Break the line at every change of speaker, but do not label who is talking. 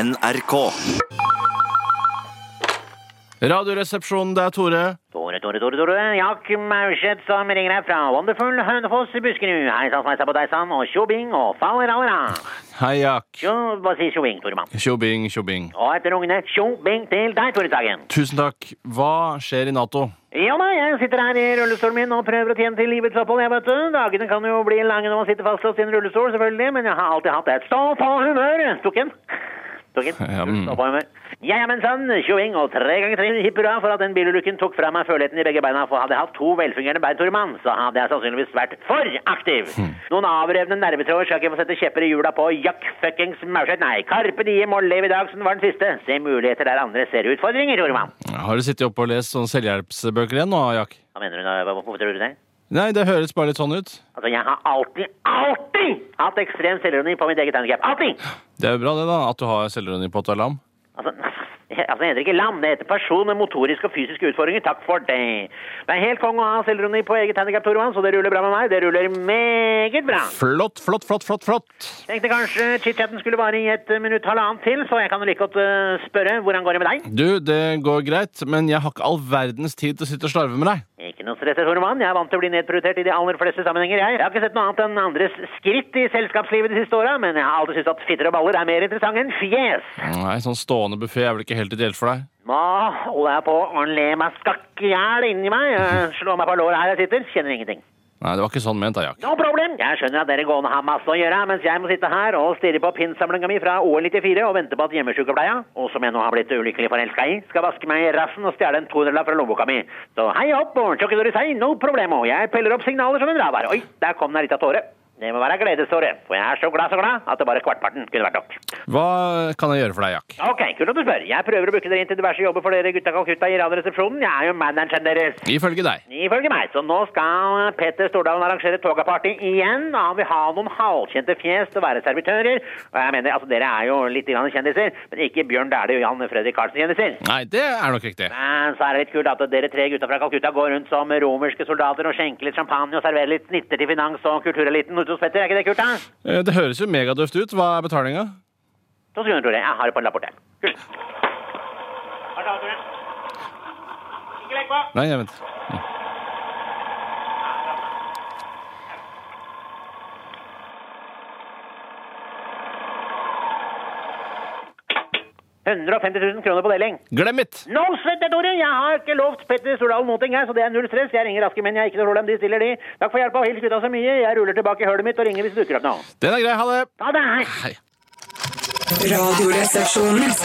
NRK.
Radioresepsjonen, det er Tore.
Tore, Tore, Tore, Tore. Jack Maurseth som ringer deg fra Wonderful Hønefoss i Buskerud. Hei sann, sveisa på deg sann, og tjobing og fallera.
Hei, Jack.
Tjo, hva sier tjobing, Toremann?
Tjobing, tjobing.
Og etter ungene, tjobing til deg, Tore Sagen.
Tusen takk. Hva skjer i Nato?
Ja da, jeg sitter her i rullestolen min og prøver å tjene til livets opphold, jeg, vet du. Dagene kan jo bli lange når man sitter fastlåst i en rullestol, selvfølgelig, men jeg har alltid hatt et stå på humør. Tok en. Tok en.
Ja, men-
Stå på humør. Ja, ja, men sann, tjoing og tre ganger tre hipp hurra for at den bilulykken tok fra meg føleligheten i begge beina, for hadde jeg hatt to velfungerende bein, Tormann, så hadde jeg sannsynligvis vært for aktiv.
Hm.
Noen avrevne nervetråder skal ikke få sette kjepper i hjula på Jack fuckings Maurseth, nei. Karpe Diem og Lev i dag som den var den siste. Se muligheter der andre ser utfordringer, Tormann.
Har du sittet oppe og lest sånne selvhjelpsbøker igjen nå, Jack?
Hva mener du nå? Hva- Hvorfor tror du det?
Nei, det høres bare litt sånn ut.
Altså, jeg har alltid, alltid hatt ekstrem selvironi på mitt eget handikap. Alltid!
Det er jo bra det, da, at du har selvironi på at du er lam.
Altså, jeg- altså, det heter ikke lam, det heter person med motoriske og fysiske utfordringer. Takk for det. Det er helt kong å ha selvironi på eget handikap, Torvann, så det ruller bra med meg. Det ruller meget bra.
Flott, flott, flott, flott, flott.
Tenkte kanskje chit-chatten skulle vare i et eh, minutt halvannet til, så jeg kan jo like godt eh, spørre hvordan går det med deg?
Du, det går greit, men jeg har ikke all verdens tid til å sitte og slarve med deg.
Ikke noe stress, Torvann. Jeg er vant til å bli nedprioritert i de aller fleste sammenhenger, jeg. Jeg har ikke sett noe annet enn andres skritt i selskapslivet de siste åra, men jeg har alltid syntes at fitter og baller er mer interessant enn fjes.
Nei, sånn stående buffé er vel ikke helt ideelt for deg?
Nå holder jeg på å le meg skakk i hjel inni meg. Jeg Slår meg på låret her jeg sitter. Kjenner ingenting.
Nei, det var ikke sånn ment, da, Jack.
No problem. Jeg skjønner at dere gående har masse å gjøre, mens jeg må sitte her og stirre på pinnsamlinga mi fra OL 94 og vente på at hjemmesykepleia, og som jeg nå har blitt ulykkelig forelska i, skal vaske meg i rassen og stjele en 200-lapp fra lommeboka mi. Så hei opp og tjokkedori sei, no problemo. Jeg peller opp signaler som en radar. Oi, der kom det ei lita tåre. Det må være gledeståre, for jeg er så glad, så glad at det bare kvartparten kunne vært nok.
Hva kan jeg gjøre for deg, Jack?
Ok, kult at du spør. Jeg prøver å booke dere inn til diverse jobber for dere gutta Calcutta i Radioresepsjonen. Jeg er jo manageren deres.
Ifølge deg.
Ifølge meg, så nå skal Peter Stordalen arrangere togaparty igjen. og Han vil ha noen halvkjente fjes til å være servitører. Og jeg mener, altså dere er jo litt grann kjendiser, men ikke Bjørn Dæhlie og Jan Fredrik Karlsen-kjendiser.
Nei, det er nok riktig.
Men så er det litt kult at dere tre gutta fra Calcutta går rundt som romerske soldater og skjenker litt champagne og serverer litt snitter til finans og kultureliten ute hos Petter. Er ikke det kult, da?
Eh, Det høres jo megadøvt ut. Hva er betalinga?
To sekunder, Tore. Jeg har det på en lapp borte. Kult. Har du Tore? Ikke legg på.
Nei, jeg venter.
kroner på deling.
Glem it!
No sweat, det, Tore. Jeg har ikke lovt Petter Stordalen noe, jeg, så det er null stress. Jeg ringer raske menn, jeg har ikke noe problem. De stiller, de. Takk for hjelpa og hils gutta så mye. Jeg ruller tilbake i hølet mitt og ringer hvis det dukker opp noe.
Den er grei. Ha det!
Ta det her.
Hei.
Radioresepsjonen.